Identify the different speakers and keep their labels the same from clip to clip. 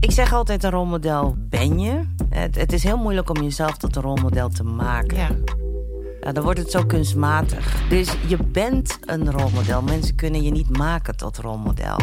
Speaker 1: zeg altijd, een rolmodel ben je. Het, het is heel moeilijk om jezelf tot een rolmodel te maken.
Speaker 2: Ja.
Speaker 1: Ja, dan wordt het zo kunstmatig. Dus je bent een rolmodel. Mensen kunnen je niet maken tot rolmodel.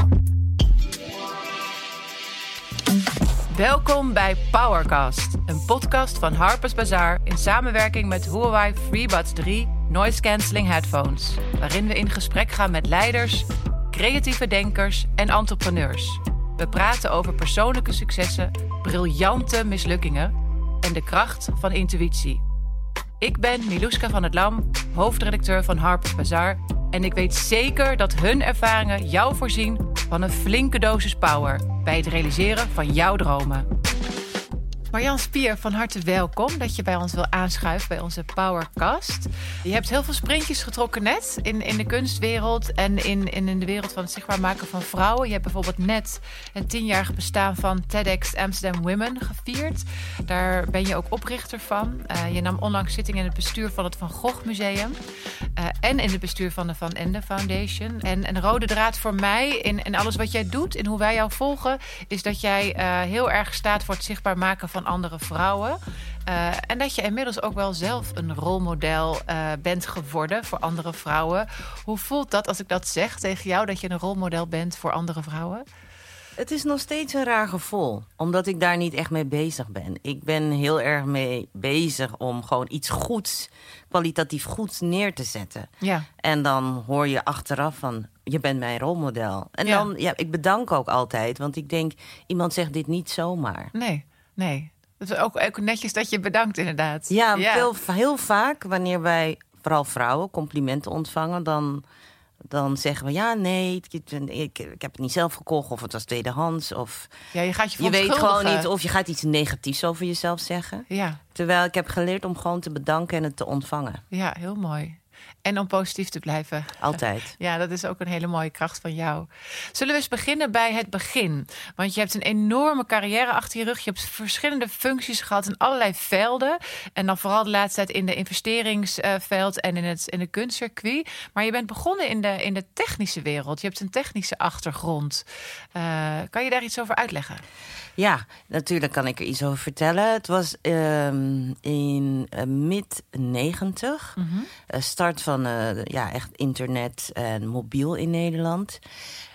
Speaker 2: Welkom bij Powercast, een podcast van Harper's Bazaar in samenwerking met Huawei FreeBuds 3 Noise Cancelling Headphones, waarin we in gesprek gaan met leiders, creatieve denkers en entrepreneurs. We praten over persoonlijke successen, briljante mislukkingen en de kracht van intuïtie. Ik ben Miluska van het Lam, hoofdredacteur van Harper's Bazaar. En ik weet zeker dat hun ervaringen jou voorzien van een flinke dosis power bij het realiseren van jouw dromen. Marjan Spier, van harte welkom dat je bij ons wil aanschuiven bij onze Powercast. Je hebt heel veel sprintjes getrokken net in, in de kunstwereld en in, in, in de wereld van het zichtbaar maken van vrouwen. Je hebt bijvoorbeeld net het tienjarig bestaan van TEDx Amsterdam Women gevierd. Daar ben je ook oprichter van. Eh, je nam onlangs zitting in het bestuur van het Van Gogh Museum eh, en in het bestuur van de Van Ende Foundation. En een rode draad voor mij in, in alles wat jij doet en hoe wij jou volgen, is dat jij eh, heel erg staat voor het zichtbaar maken van andere vrouwen. Eh, en dat je inmiddels ook wel zelf een rolmodel eh, bent geworden voor andere vrouwen. Hoe voelt dat als ik dat zeg tegen jou, dat je een rolmodel bent voor andere vrouwen?
Speaker 1: Het is nog steeds een raar gevoel, omdat ik daar niet echt mee bezig ben. Ik ben heel erg mee bezig om gewoon iets goeds, kwalitatief goeds neer te zetten.
Speaker 2: Ja.
Speaker 1: En dan hoor je achteraf van, je bent mijn rolmodel. En
Speaker 2: Ja.
Speaker 1: dan, ja, ik bedank ook altijd, want ik denk, iemand zegt dit niet zomaar.
Speaker 2: Nee, nee. Dat is ook, ook netjes dat je bedankt, inderdaad.
Speaker 1: Ja, Veel, heel vaak wanneer wij, vooral vrouwen, complimenten ontvangen, dan, dan zeggen we ja, nee, ik, ik, ik heb het niet zelf gekocht of het was tweedehands. Of
Speaker 2: Ja, je gaat je
Speaker 1: je weet gewoon
Speaker 2: verontschuldigen.
Speaker 1: niet of je gaat iets negatiefs over jezelf zeggen.
Speaker 2: Ja,
Speaker 1: Terwijl ik heb geleerd om gewoon te bedanken en het te ontvangen.
Speaker 2: ja, heel mooi. En om positief te blijven.
Speaker 1: Altijd.
Speaker 2: Ja, dat is ook een hele mooie kracht van jou. Zullen we eens beginnen bij het begin? Want je hebt een enorme carrière achter je rug. Je hebt verschillende functies gehad in allerlei velden. En dan vooral de laatste tijd in de investeringsveld en in het, in het kunstcircuit. Maar je bent begonnen in de, in de technische wereld. Je hebt een technische achtergrond. Eh, kan je daar iets over uitleggen?
Speaker 1: Ja, natuurlijk kan ik er iets over vertellen. Het was ehm, in mid-90. Eh, start van eh, ja, echt internet en mobiel in Nederland.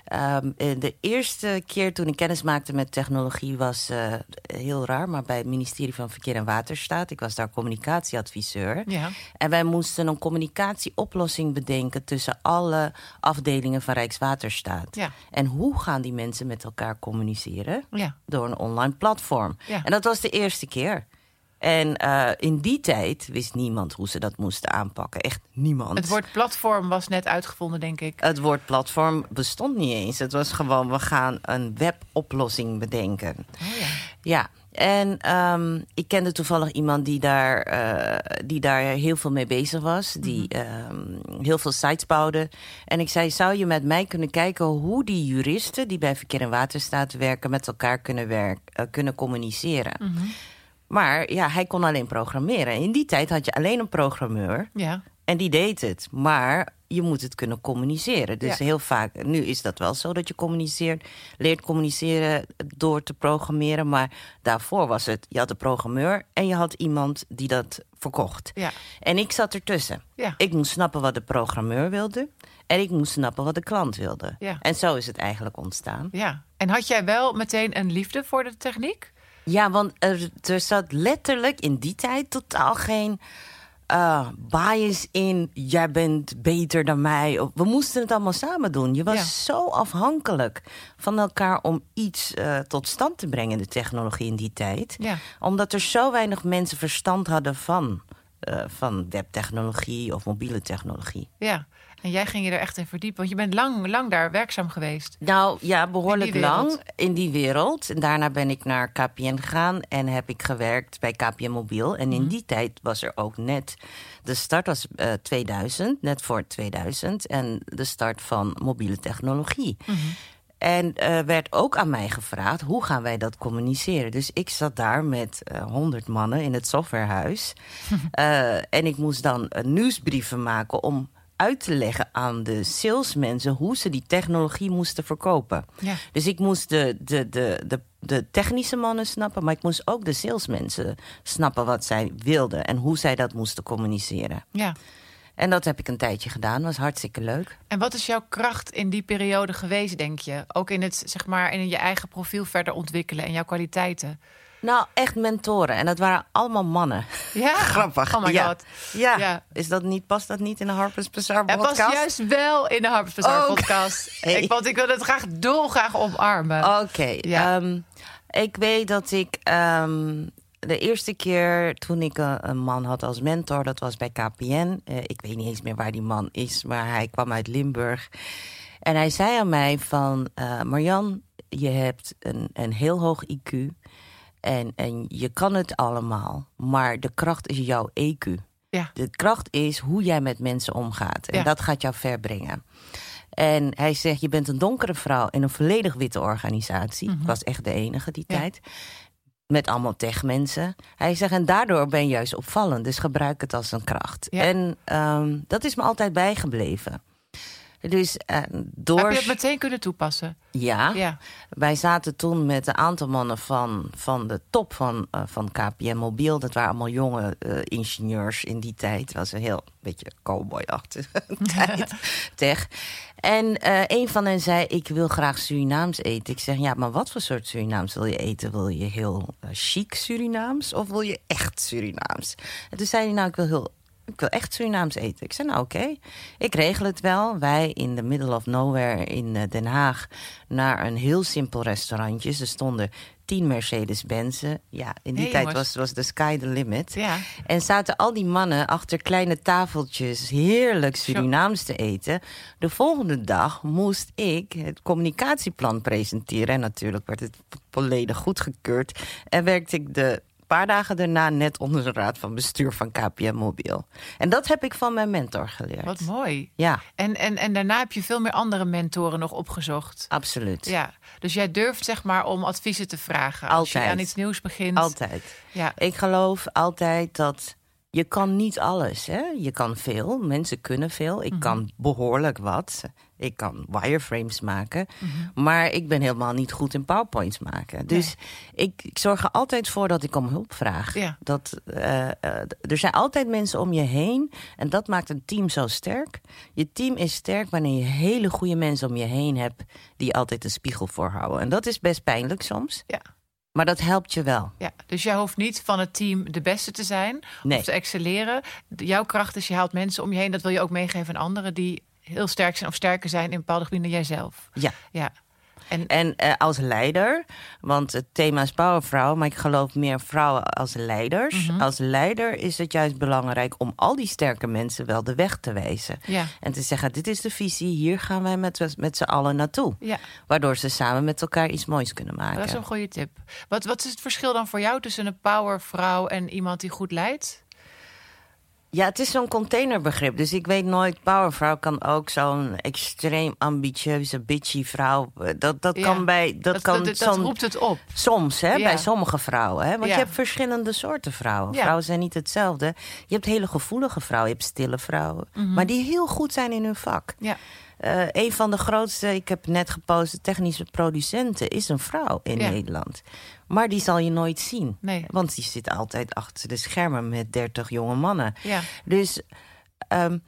Speaker 1: Ehm, eh, de eerste keer toen ik kennis maakte met technologie was eh, heel raar, maar bij het ministerie van Verkeer en Waterstaat. Ik was daar communicatieadviseur.
Speaker 2: Ja.
Speaker 1: En wij moesten een communicatieoplossing bedenken tussen alle afdelingen van Rijkswaterstaat.
Speaker 2: Ja.
Speaker 1: En hoe gaan die mensen met elkaar communiceren?
Speaker 2: Ja.
Speaker 1: door een online platform.
Speaker 2: Ja.
Speaker 1: En dat was de eerste keer. En eh, in die tijd wist niemand hoe ze dat moesten aanpakken. Echt niemand.
Speaker 2: Het woord platform was net uitgevonden, denk ik.
Speaker 1: Het woord platform bestond niet eens. Het was gewoon, we gaan een weboplossing bedenken.
Speaker 2: Oh ja.
Speaker 1: Ja, en ehm, ik kende toevallig iemand die daar, eh, die daar heel veel mee bezig was. Die ehm, heel veel sites bouwde. En ik zei, zou je met mij kunnen kijken hoe die juristen... die bij Verkeer en Waterstaat werken, met elkaar kunnen, werk, eh, kunnen communiceren? Maar ja, hij kon alleen programmeren. In die tijd had je alleen een programmeur.
Speaker 2: Ja.
Speaker 1: En die deed het. Maar je moet het kunnen communiceren. Dus
Speaker 2: Ja.
Speaker 1: heel vaak, nu is dat wel zo dat je communiceert, leert communiceren door te programmeren. Maar daarvoor was het, je had een programmeur en je had iemand die dat verkocht.
Speaker 2: Ja.
Speaker 1: En ik zat ertussen.
Speaker 2: Ja.
Speaker 1: Ik moest snappen wat de programmeur wilde. En ik moest snappen wat de klant wilde.
Speaker 2: Ja.
Speaker 1: En zo is het eigenlijk ontstaan.
Speaker 2: ja. En had jij wel meteen een liefde voor de techniek?
Speaker 1: Ja, want er, er zat letterlijk in die tijd totaal geen eh, bias in. Jij bent beter dan mij. Of, We moesten het allemaal samen doen. Je was
Speaker 2: Ja.
Speaker 1: zo afhankelijk van elkaar om iets eh, tot stand te brengen, de technologie in die tijd.
Speaker 2: Ja.
Speaker 1: Omdat er zo weinig mensen verstand hadden van, eh, van webtechnologie of mobiele technologie.
Speaker 2: Ja, en jij ging je er echt in verdiepen, want je bent lang, lang daar werkzaam geweest.
Speaker 1: Nou ja, behoorlijk
Speaker 2: In die wereld.
Speaker 1: lang in die wereld. En daarna ben ik naar KPN gegaan en heb ik gewerkt bij KPN Mobiel. En in die tijd was er ook net. De start was eh, 2000, net voor 2000. En de start van mobiele technologie. En eh, werd ook aan mij gevraagd: hoe gaan wij dat communiceren? Dus ik zat daar met honderd mannen in het softwarehuis. Eh, en ik moest dan eh, nieuwsbrieven maken om uit te leggen aan de salesmensen hoe ze die technologie moesten verkopen.
Speaker 2: Ja.
Speaker 1: Dus ik moest de, de, de, de, de technische mannen snappen, maar ik moest ook de salesmensen snappen wat zij wilden en hoe zij dat moesten communiceren.
Speaker 2: ja.
Speaker 1: En dat heb ik een tijdje gedaan, was hartstikke leuk.
Speaker 2: En wat is jouw kracht in die periode geweest, denk je? Ook in het, zeg maar, in je eigen profiel verder ontwikkelen en jouw kwaliteiten.
Speaker 1: Nou, echt mentoren. En dat waren allemaal mannen.
Speaker 2: Ja,
Speaker 1: Grappig.
Speaker 2: Oh my
Speaker 1: ja.
Speaker 2: god.
Speaker 1: Ja.
Speaker 2: Ja.
Speaker 1: Is dat niet, past dat niet in de Harper's Bazaar
Speaker 2: Het
Speaker 1: podcast?
Speaker 2: past juist wel in de Harper's Bazaar
Speaker 1: Ook.
Speaker 2: podcast.
Speaker 1: Hey. Oh,
Speaker 2: Ik, want ik wil het graag dolgraag omarmen.
Speaker 1: Oké.
Speaker 2: Ja.
Speaker 1: ehm, ik weet dat ik ehm, de eerste keer toen ik eh, een, een man had als mentor, dat was bij KPN. Eh, ik weet niet eens meer waar die man is, maar hij kwam uit Limburg. En hij zei aan mij van, eh, Marjan, je hebt een, een heel hoog IQ en, en je kan het allemaal, maar de kracht is jouw E EQ.
Speaker 2: Ja.
Speaker 1: De kracht is hoe jij met mensen omgaat. En
Speaker 2: Ja.
Speaker 1: dat gaat jou ver brengen. En hij zegt, je bent een donkere vrouw in een volledig witte organisatie. Ik was echt de enige die
Speaker 2: Mhm. Ja.
Speaker 1: tijd. Met allemaal techmensen. Hij zegt, en daardoor ben je juist opvallend. Dus gebruik het als een kracht.
Speaker 2: Ja.
Speaker 1: En ehm, dat is me altijd bijgebleven. Dus eh,
Speaker 2: Heb
Speaker 1: door...
Speaker 2: je het meteen kunnen toepassen?
Speaker 1: Ja.
Speaker 2: Ja.
Speaker 1: Wij zaten toen met een aantal mannen van, van de top van, eh, van KPM Mobiel. Dat waren allemaal jonge eh, ingenieurs in die tijd. Het was een heel beetje cowboy-achtige tijd, tech. En eh, een van hen zei, ik wil graag Surinaams eten. Ik zeg, ja, maar wat voor soort Surinaams wil je eten? Wil je heel eh, chic Surinaams of wil je echt Surinaams? En toen zei hij, nou, ik wil heel... Ik wil echt Surinaams eten. Ik zei, nou oké, ik regel het wel. Wij in the middle of nowhere in eh, Den Haag naar een heel simpel restaurantje. Er stonden tien Mercedes-Benzen. Ja, in die
Speaker 2: Hey,
Speaker 1: tijd
Speaker 2: jongens.
Speaker 1: was, was de sky the limit.
Speaker 2: Ja.
Speaker 1: En zaten al die mannen achter kleine tafeltjes heerlijk Surinaams te eten. De volgende dag moest ik het communicatieplan presenteren. En natuurlijk werd het vo- volledig goedgekeurd. En werkte ik de paar dagen daarna net onder de raad van bestuur van KPM Mobiel. En dat heb ik van mijn mentor geleerd.
Speaker 2: Wat mooi.
Speaker 1: Ja,
Speaker 2: En, en, en daarna heb je veel meer andere mentoren nog opgezocht.
Speaker 1: absoluut.
Speaker 2: Ja. Dus jij durft zeg maar om adviezen te vragen. Als je
Speaker 1: Altijd.
Speaker 2: aan iets nieuws begint.
Speaker 1: Altijd.
Speaker 2: Ja.
Speaker 1: Ik geloof altijd dat je kan niet alles. Hè? Je kan veel, mensen kunnen veel. Ik kan behoorlijk wat. Ik kan wireframes maken. Maar ik ben helemaal niet goed in powerpoints maken. Dus ik, ik zorg er altijd voor dat ik om hulp vraag.
Speaker 2: Ja.
Speaker 1: Dat, eh, eh, d- er zijn altijd mensen om je heen. En dat maakt een team zo sterk. Je team is sterk wanneer je hele goede mensen om je heen hebt... die altijd een spiegel voorhouden. En dat is best pijnlijk soms.
Speaker 2: Ja.
Speaker 1: Maar dat helpt je wel.
Speaker 2: Ja, dus jij hoeft niet van het team de beste te zijn
Speaker 1: Nee.
Speaker 2: of te excelleren. De- Jouw kracht is, je haalt mensen om je heen. Dat wil je ook meegeven aan anderen die heel sterk zijn of sterker zijn in bepaalde gebieden dan jijzelf.
Speaker 1: Ja.
Speaker 2: Ja. En,
Speaker 1: En eh, als leider, want het thema is powervrouw, maar ik geloof meer vrouwen als leiders.
Speaker 2: Mhm.
Speaker 1: Als leider is het juist belangrijk om al die sterke mensen wel de weg te wijzen.
Speaker 2: Ja.
Speaker 1: En te zeggen, dit is de visie, hier gaan wij met, met z'n allen naartoe.
Speaker 2: ja,
Speaker 1: Waardoor ze samen met elkaar iets moois kunnen
Speaker 2: dat is
Speaker 1: maken.
Speaker 2: een goede tip. Wat, wat is het verschil dan voor jou tussen een powervrouw en iemand die goed leidt?
Speaker 1: Ja, het is zo'n containerbegrip, dus ik weet nooit, powervrouw kan ook zo'n extreem ambitieuze, bitchy vrouw. eh, Dat, dat
Speaker 2: Ja.
Speaker 1: kan bij, dat,
Speaker 2: dat,
Speaker 1: kan
Speaker 2: dat, dat
Speaker 1: zo'n
Speaker 2: roept het op.
Speaker 1: Soms, hè,
Speaker 2: Ja.
Speaker 1: bij sommige vrouwen. Hè? Want
Speaker 2: Ja.
Speaker 1: je hebt verschillende soorten vrouwen.
Speaker 2: Ja.
Speaker 1: Vrouwen zijn niet hetzelfde. Je hebt hele gevoelige vrouwen, je hebt stille vrouwen. Maar die heel goed zijn in hun vak.
Speaker 2: Mhm. Ja.
Speaker 1: Eh, een van de grootste, ik heb net gepost, technische producenten is een vrouw in
Speaker 2: Ja.
Speaker 1: Nederland. Maar die zal je nooit zien.
Speaker 2: Nee.
Speaker 1: Want die zit altijd achter de schermen met 30 jonge mannen.
Speaker 2: Ja.
Speaker 1: Dus ehm,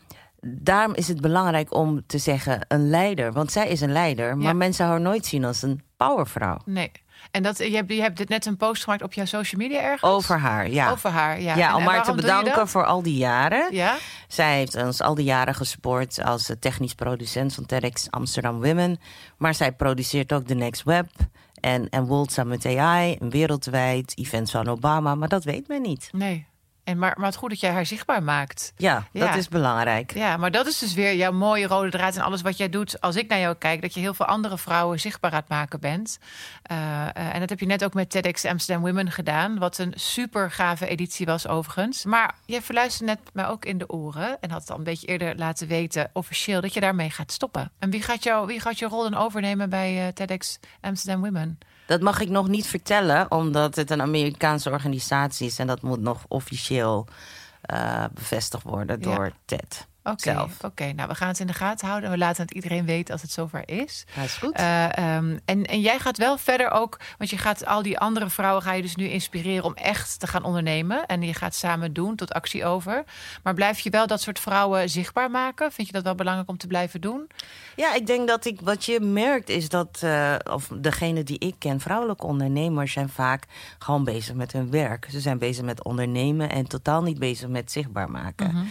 Speaker 1: daarom is het belangrijk om te zeggen een leider. Want zij is een leider, maar
Speaker 2: Ja.
Speaker 1: mensen haar nooit zien als een powervrouw.
Speaker 2: Nee. En dat, je, hebt, je hebt dit net een post gemaakt op jouw social media ergens?
Speaker 1: Over haar, ja.
Speaker 2: Over haar, ja.
Speaker 1: ja.
Speaker 2: En- en
Speaker 1: om haar te
Speaker 2: waarom doe je
Speaker 1: bedanken
Speaker 2: dat?
Speaker 1: voor al die jaren.
Speaker 2: Ja?
Speaker 1: Zij heeft ons al die jaren gesport als eh, technisch producent van TEDx Amsterdam Women. Maar zij produceert ook The Next Web en, en World Summit AI, en wereldwijd, events van Obama. Maar dat weet men niet.
Speaker 2: Nee. En maar, maar het goed dat jij haar zichtbaar maakt.
Speaker 1: Ja,
Speaker 2: Ja.
Speaker 1: dat is belangrijk.
Speaker 2: Ja, maar dat is dus weer jouw mooie rode draad en alles wat jij doet. Als ik naar jou kijk, dat je heel veel andere vrouwen zichtbaar aan het maken bent. Eh, eh, en dat heb je net ook met TEDx Amsterdam Women gedaan. Wat een super gave editie was overigens. Maar jij verluisterde net mij ook in de oren. En had al een beetje eerder laten weten, officieel, dat je daarmee gaat stoppen. En wie gaat, jou, wie gaat je rol dan overnemen bij eh, TEDx Amsterdam Women?
Speaker 1: Dat mag ik nog niet vertellen, omdat het een Amerikaanse organisatie is en dat moet nog officieel eh, bevestigd worden
Speaker 2: Ja.
Speaker 1: door TED.
Speaker 2: Oké,
Speaker 1: zelf.
Speaker 2: Oké, nou we gaan het in de gaten houden. We laten het iedereen weten als het zover is.
Speaker 1: Ja, is goed.
Speaker 2: Eh, ehm, en, en jij gaat wel verder ook, want je gaat al die andere vrouwen ga je dus nu inspireren om echt te gaan ondernemen. En je gaat samen doen tot actie over. Maar blijf je wel dat soort vrouwen zichtbaar maken? Vind je dat wel belangrijk om te blijven doen?
Speaker 1: Ja, ik denk dat ik wat je merkt is dat, eh, of degene die ik ken, vrouwelijke ondernemers zijn vaak gewoon bezig met hun werk. Ze zijn bezig met ondernemen en totaal niet bezig met zichtbaar maken.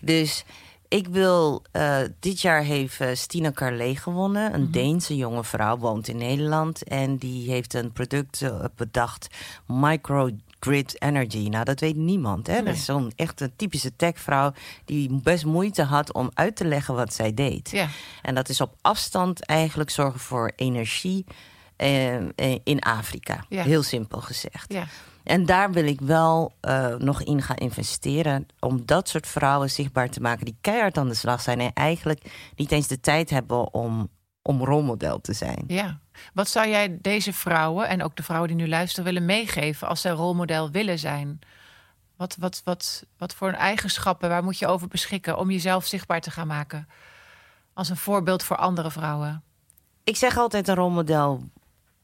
Speaker 1: Dus ik wil, eh, dit jaar heeft eh, Stina Carlé gewonnen, een Deense jonge vrouw, woont in Nederland en die heeft een product eh, bedacht, micro Grid Energy. Nou, dat weet niemand. Hè? Dat is zo'n echt een typische techvrouw die best moeite had om uit te leggen wat zij deed.
Speaker 2: Ja.
Speaker 1: En dat is op afstand eigenlijk zorgen voor energie eh, eh, in Afrika.
Speaker 2: Ja.
Speaker 1: Heel simpel gezegd.
Speaker 2: Ja.
Speaker 1: En daar wil ik wel eh, nog in gaan investeren. Om dat soort vrouwen zichtbaar te maken die keihard aan de slag zijn. En eigenlijk niet eens de tijd hebben om, om rolmodel te zijn.
Speaker 2: Ja. Wat zou jij deze vrouwen en ook de vrouwen die nu luisteren willen meegeven als zij rolmodel willen zijn? Wat, wat, wat, wat voor eigenschappen, waar moet je over beschikken om jezelf zichtbaar te gaan maken? Als een voorbeeld voor andere vrouwen.
Speaker 1: Ik zeg altijd: een rolmodel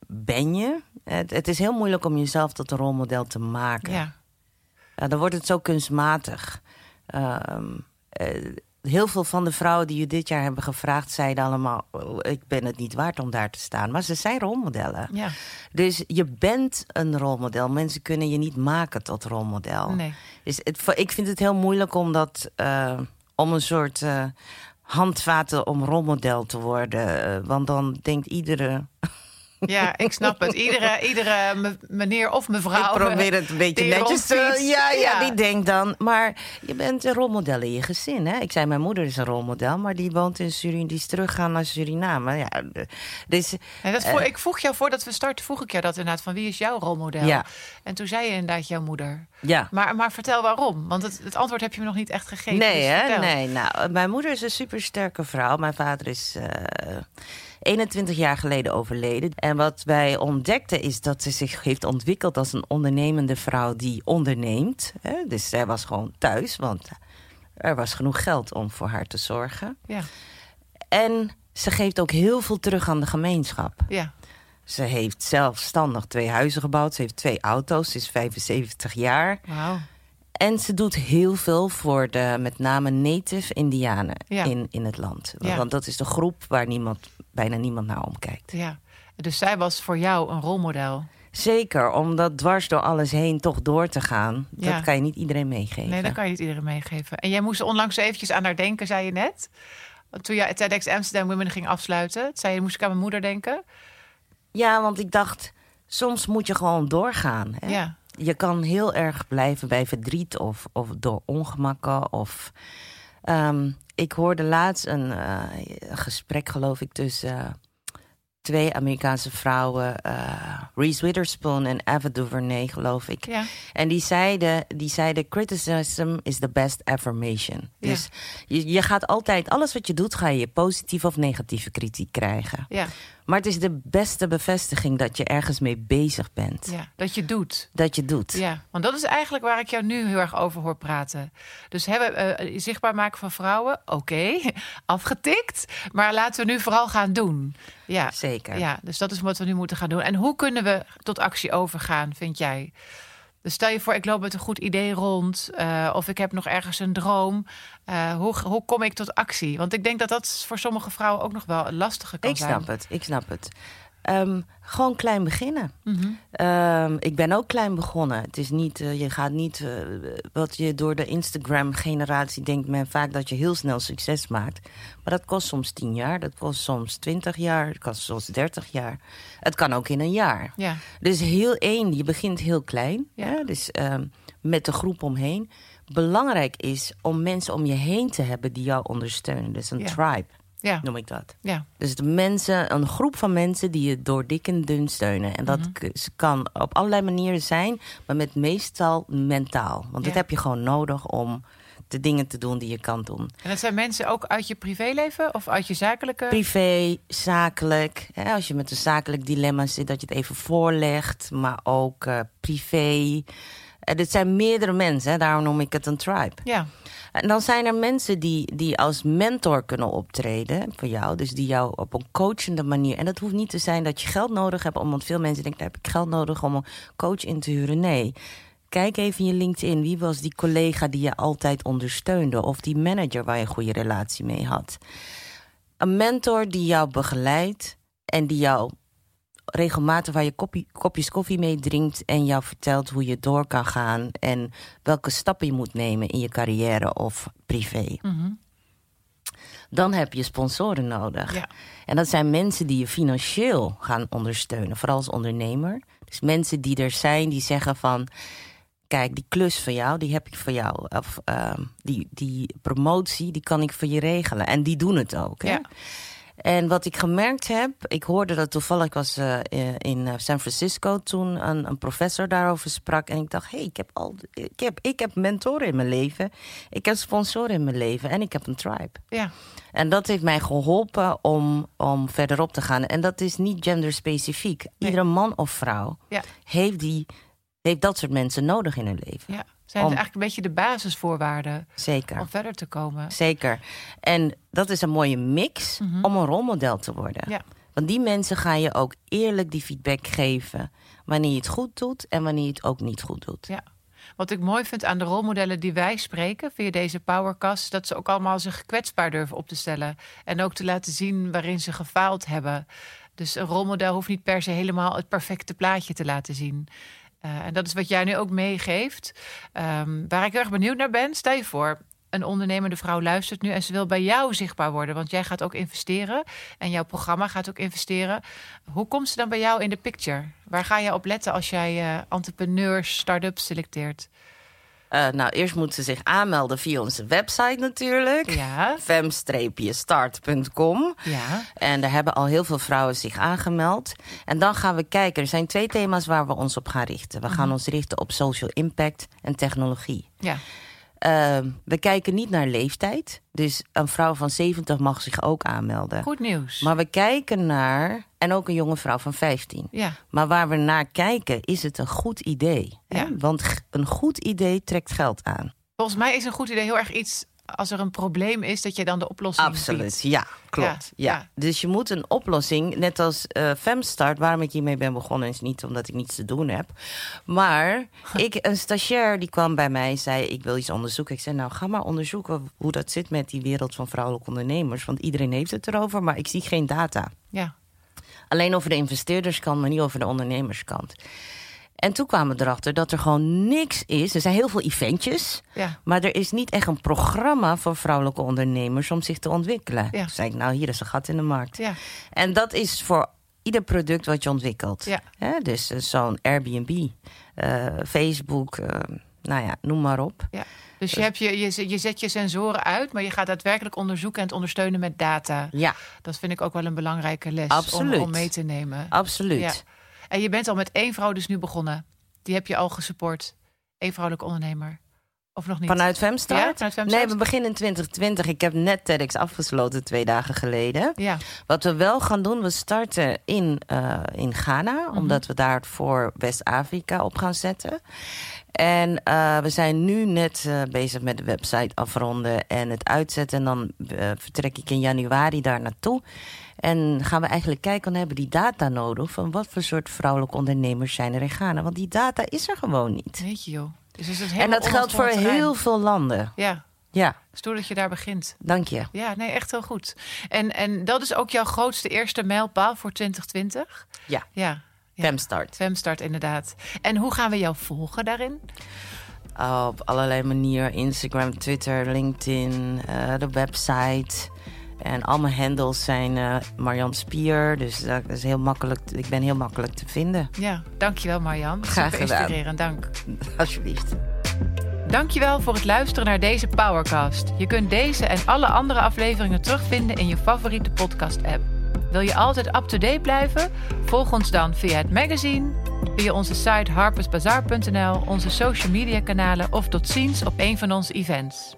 Speaker 1: ben je. Het, het is heel moeilijk om jezelf tot een rolmodel te maken.
Speaker 2: Ja,
Speaker 1: Ja, Eh, dan wordt het zo kunstmatig. Ehm, eh, heel veel van de vrouwen die je dit jaar hebben gevraagd, zeiden allemaal: "Oh, Ik ben het niet waard om daar te staan. Maar ze zijn rolmodellen.
Speaker 2: ja.
Speaker 1: Dus je bent een rolmodel. Mensen kunnen je niet maken tot rolmodel.
Speaker 2: Nee.
Speaker 1: Dus het, ik vind het heel moeilijk om, dat, eh, om een soort eh, handvaten om rolmodel te worden. Eh, want dan denkt iedere.
Speaker 2: ja ik snap het. Iedere, iedere me- meneer of mevrouw.
Speaker 1: ik probeer het een beetje
Speaker 2: die
Speaker 1: netjes te.
Speaker 2: rondfietst.
Speaker 1: Ja, ja,
Speaker 2: Ja.
Speaker 1: die denkt dan. Maar je bent een rolmodel in je gezin. Hè? Ik zei, mijn moeder is een rolmodel, maar die woont in Suriname. Die is teruggegaan naar Suriname. Ja, eh, dus
Speaker 2: Nee, dat vroeg- ik vroeg jou voordat we starten, vroeg ik jou dat inderdaad van wie is jouw rolmodel?
Speaker 1: Ja.
Speaker 2: En toen zei je inderdaad jouw moeder.
Speaker 1: ja.
Speaker 2: Maar, maar vertel waarom, want het, het antwoord heb je me nog niet echt gegeven.
Speaker 1: Nee,
Speaker 2: dus
Speaker 1: hè?
Speaker 2: vertel.
Speaker 1: Nee, nou, mijn moeder is een supersterke vrouw. Mijn vader is eh, 21 jaar geleden overleden. En wat wij ontdekten is dat ze zich heeft ontwikkeld als een ondernemende vrouw die onderneemt. Hè? Dus zij was gewoon thuis, want er was genoeg geld om voor haar te zorgen.
Speaker 2: Ja,
Speaker 1: En ze geeft ook heel veel terug aan de gemeenschap.
Speaker 2: ja.
Speaker 1: Ze heeft zelfstandig twee huizen gebouwd. Ze heeft twee auto's. Ze is 75 jaar.
Speaker 2: Wauw.
Speaker 1: En ze doet heel veel voor de met name native Indianen
Speaker 2: Ja.
Speaker 1: in, in het land.
Speaker 2: Ja.
Speaker 1: Want dat is de groep waar niemand, bijna niemand naar omkijkt.
Speaker 2: Ja. Dus zij was voor jou een rolmodel.
Speaker 1: Zeker om dat dwars door alles heen toch door te gaan.
Speaker 2: Ja.
Speaker 1: Dat kan je niet iedereen meegeven.
Speaker 2: Nee, dat kan je niet iedereen meegeven. En jij moest onlangs eventjes aan haar denken, zei je net. Want Toen je TEDx Amsterdam Women ging afsluiten, zei je, moest ik aan mijn moeder denken.
Speaker 1: Ja, want ik dacht, soms moet je gewoon doorgaan. Hè?
Speaker 2: Ja.
Speaker 1: Je kan heel erg blijven bij verdriet of, of door ongemakken. Of, Ehm, ik hoorde laatst een eh, een gesprek, geloof ik, tussen eh, twee Amerikaanse vrouwen. eh, Reese Witherspoon en Ava DuVernay, geloof ik.
Speaker 2: Ja.
Speaker 1: En die zeiden, die zeiden, criticism is the best affirmation.
Speaker 2: Ja.
Speaker 1: Dus je, je gaat altijd, alles wat je doet, ga je positieve of negatieve kritiek krijgen.
Speaker 2: Ja.
Speaker 1: Maar het is de beste bevestiging dat je ergens mee bezig bent.
Speaker 2: ja. Dat je doet.
Speaker 1: Dat je doet.
Speaker 2: Ja, want dat is eigenlijk waar ik jou nu heel erg over hoor praten. Dus hebben, eh, zichtbaar maken van vrouwen, oké, afgetikt. Maar laten we nu vooral gaan doen. Ja,
Speaker 1: Zeker.
Speaker 2: Ja, dus dat is wat we nu moeten gaan doen. En hoe kunnen we tot actie overgaan, vind jij? Dus stel je voor, ik loop met een goed idee rond. eh, of ik heb nog ergens een droom. Eh, hoe, hoe kom ik tot actie? Want ik denk dat dat voor sommige vrouwen ook nog wel een lastige kan
Speaker 1: Ik
Speaker 2: zijn.
Speaker 1: snap het, ik snap het. Ehm, gewoon klein beginnen.
Speaker 2: Mhm.
Speaker 1: Ehm, ik ben ook klein begonnen. Het is niet, eh, je gaat niet, eh, wat je door de Instagram-generatie denkt men vaak dat je heel snel succes maakt. Maar dat kost soms 10 jaar, dat kost soms 20 jaar, dat kost soms 30 jaar. Het kan ook in een jaar.
Speaker 2: Ja,
Speaker 1: Dus heel één, je begint heel klein.
Speaker 2: Ja.
Speaker 1: Hè? Dus ehm, met de groep omheen. Belangrijk is om mensen om je heen te hebben die jou ondersteunen. Dus een
Speaker 2: Ja.
Speaker 1: tribe,
Speaker 2: ja,
Speaker 1: noem ik dat.
Speaker 2: ja,
Speaker 1: Dus de mensen, een groep van mensen die je door dik en dun steunen. En dat k- ze kan op allerlei manieren zijn, maar met meestal mentaal. Want dat
Speaker 2: Ja.
Speaker 1: heb je gewoon nodig om de dingen te doen die je kan doen.
Speaker 2: En dat zijn mensen ook uit je privéleven of uit je zakelijke...
Speaker 1: Privé, zakelijk. Hè, als je met een zakelijk dilemma zit, dat je het even voorlegt. Maar ook eh, privé. Eh, dit zijn meerdere mensen, hè, daarom noem ik het een tribe.
Speaker 2: Ja.
Speaker 1: En dan zijn er mensen die, die als mentor kunnen optreden voor jou. Dus die jou op een coachende manier. En dat hoeft niet te zijn dat je geld nodig hebt. om- Want veel mensen denken: heb ik geld nodig om een coach in te huren? Nee. Kijk even in je LinkedIn. Wie was die collega die je altijd ondersteunde? Of die manager waar je een goede relatie mee had? Een mentor die jou begeleidt en die jou regelmatig waar je kopie- kopjes koffie mee drinkt en jou vertelt hoe je door kan gaan en welke stappen je moet nemen in je carrière of privé.
Speaker 2: Mhm.
Speaker 1: Dan heb je sponsoren nodig.
Speaker 2: Ja.
Speaker 1: En dat zijn mensen die je financieel gaan ondersteunen, vooral als ondernemer. Dus mensen die er zijn die zeggen van. Kijk, die klus van jou, die heb ik voor jou. Of ehm, die, die promotie, die kan ik voor je regelen. En die doen het ook. Hè?
Speaker 2: Ja.
Speaker 1: En wat ik gemerkt heb, ik hoorde dat toevallig, ik was eh, eh, in eh, San Francisco toen een, een professor daarover sprak. En ik dacht, hé, hey, ik, heb al- ik, heb, ik heb mentoren in mijn leven. Ik heb sponsoren in mijn leven en ik heb een tribe.
Speaker 2: Ja.
Speaker 1: En dat heeft mij geholpen om, om verderop te gaan. En dat is niet genderspecifiek.
Speaker 2: Nee.
Speaker 1: Iedere man of vrouw
Speaker 2: Ja.
Speaker 1: heeft, die, heeft dat soort mensen nodig in hun leven.
Speaker 2: ja. Zijn het
Speaker 1: Om-
Speaker 2: eigenlijk een beetje de basisvoorwaarden
Speaker 1: Zeker.
Speaker 2: om verder te komen?
Speaker 1: Zeker. En dat is een mooie mix
Speaker 2: Mhm.
Speaker 1: om een rolmodel te worden.
Speaker 2: Ja.
Speaker 1: Want die mensen gaan je ook eerlijk die feedback geven. Wanneer je het goed doet en wanneer je het ook niet goed doet.
Speaker 2: Ja. Wat ik mooi vind aan de rolmodellen die wij spreken via deze Powercast, is dat ze ook allemaal zich kwetsbaar durven op te stellen. En ook te laten zien waarin ze gefaald hebben. Dus een rolmodel hoeft niet per se helemaal het perfecte plaatje te laten zien. Eh, en dat is wat jij nu ook meegeeft. Ehm, waar ik heel erg benieuwd naar ben, stel je voor. Een ondernemende vrouw luistert nu en ze wil bij jou zichtbaar worden. Want jij gaat ook investeren en jouw programma gaat ook investeren. Hoe komt ze dan bij jou in de picture? Waar ga je op letten als jij eh, entrepreneurs, start-ups selecteert?
Speaker 1: Eh, nou, eerst moeten ze zich aanmelden via onze website natuurlijk.
Speaker 2: Ja,
Speaker 1: fem-start.com.
Speaker 2: ja.
Speaker 1: En daar hebben al heel veel vrouwen zich aangemeld. En dan gaan we kijken. Er zijn twee thema's waar we ons op gaan richten. We
Speaker 2: Mhm.
Speaker 1: gaan ons richten op social impact en technologie.
Speaker 2: ja.
Speaker 1: Ehm, we kijken niet naar leeftijd. Dus een vrouw van 70 mag zich ook aanmelden.
Speaker 2: Goed nieuws.
Speaker 1: Maar we kijken naar, en ook een jonge vrouw van 15.
Speaker 2: ja,
Speaker 1: Maar waar we naar kijken, is het een goed idee. hè?
Speaker 2: Ja.
Speaker 1: Want g- een goed idee trekt geld aan.
Speaker 2: volgens mij is een goed idee heel erg iets als er een probleem is dat je dan de oplossing
Speaker 1: Absoluut,
Speaker 2: biedt.
Speaker 1: ja, klopt.
Speaker 2: Ja,
Speaker 1: Ja,
Speaker 2: ja.
Speaker 1: Dus je moet een oplossing, net als eh, Femstart, waarom ik hiermee ben begonnen, is niet omdat ik niets te doen heb. Maar ik, een stagiair die kwam bij mij en zei: Ik wil iets onderzoeken. Ik zei: Nou, ga maar onderzoeken hoe dat zit met die wereld van vrouwelijke ondernemers. Want iedereen heeft het erover, maar ik zie geen data.
Speaker 2: Ja,
Speaker 1: Alleen over de investeerderskant, maar niet over de ondernemerskant. En toen kwamen we erachter dat er gewoon niks is. Er zijn heel veel eventjes.
Speaker 2: ja,
Speaker 1: Maar er is niet echt een programma voor vrouwelijke ondernemers om zich te ontwikkelen.
Speaker 2: Ja.
Speaker 1: Toen zei ik, nou, hier is een gat in de markt.
Speaker 2: ja,
Speaker 1: En dat is voor ieder product wat je ontwikkelt.
Speaker 2: ja.
Speaker 1: Hè, dus eh, zo'n Airbnb, eh, Facebook, eh, nou ja, noem maar op.
Speaker 2: Dus je, hebt je, je, zet- je zet je sensoren uit, maar je gaat daadwerkelijk onderzoeken en het ondersteunen met data.
Speaker 1: Ja,
Speaker 2: Dat vind ik ook wel een belangrijke les om,
Speaker 1: Absoluut.
Speaker 2: om mee te nemen.
Speaker 1: absoluut.
Speaker 2: Ja. En je bent al met één vrouw dus nu begonnen. Die heb je al gesupport. Eén vrouwelijke ondernemer. Of nog niet?
Speaker 1: Vanuit
Speaker 2: ja,
Speaker 1: Femstart?
Speaker 2: vanuit Femstart?
Speaker 1: Nee, we beginnen in 2020. Ik heb net TEDx afgesloten twee dagen geleden.
Speaker 2: Ja,
Speaker 1: Wat we wel gaan doen, we starten in, eh, in Ghana,
Speaker 2: Mhm.
Speaker 1: omdat we daar het voor West-Afrika op gaan zetten. En eh, we zijn nu net eh, bezig met de website afronden en het uitzetten. En dan eh, vertrek ik in januari daar naartoe. En gaan we eigenlijk kijken, dan hebben we die data nodig van wat voor soort vrouwelijke ondernemers zijn er in Ghana. Want die data is er gewoon niet.
Speaker 2: weet je joh. Dus dat is helemaal
Speaker 1: En dat geldt voor
Speaker 2: onontgonnen terrein.
Speaker 1: heel veel landen.
Speaker 2: Ja,
Speaker 1: Ja,
Speaker 2: stoer dat je daar begint.
Speaker 1: dank je.
Speaker 2: Ja, nee, echt heel goed. En, en dat is ook jouw grootste eerste mijlpaal voor 2020?
Speaker 1: Ja.
Speaker 2: Ja, Ja.
Speaker 1: Femstart.
Speaker 2: Femstart inderdaad. En hoe gaan we jou volgen daarin?
Speaker 1: Ah, Op allerlei manieren. Instagram, Twitter, LinkedIn, eh, de website. En al mijn handles zijn eh Marjan Spier. Dus dat is heel makkelijk. Ik ben heel makkelijk te vinden.
Speaker 2: Ja, dankjewel Marjan.
Speaker 1: Graag
Speaker 2: Super
Speaker 1: gedaan.
Speaker 2: inspirerend, dank.
Speaker 1: Alsjeblieft.
Speaker 2: Dankjewel voor het luisteren naar deze Powercast. Je kunt deze en alle andere afleveringen terugvinden in je favoriete podcast-app. Wil je altijd up-to-date blijven? Volg ons dan via het magazine, via onze site harpersbazaar.nl, onze social media kanalen of tot ziens op een van onze events.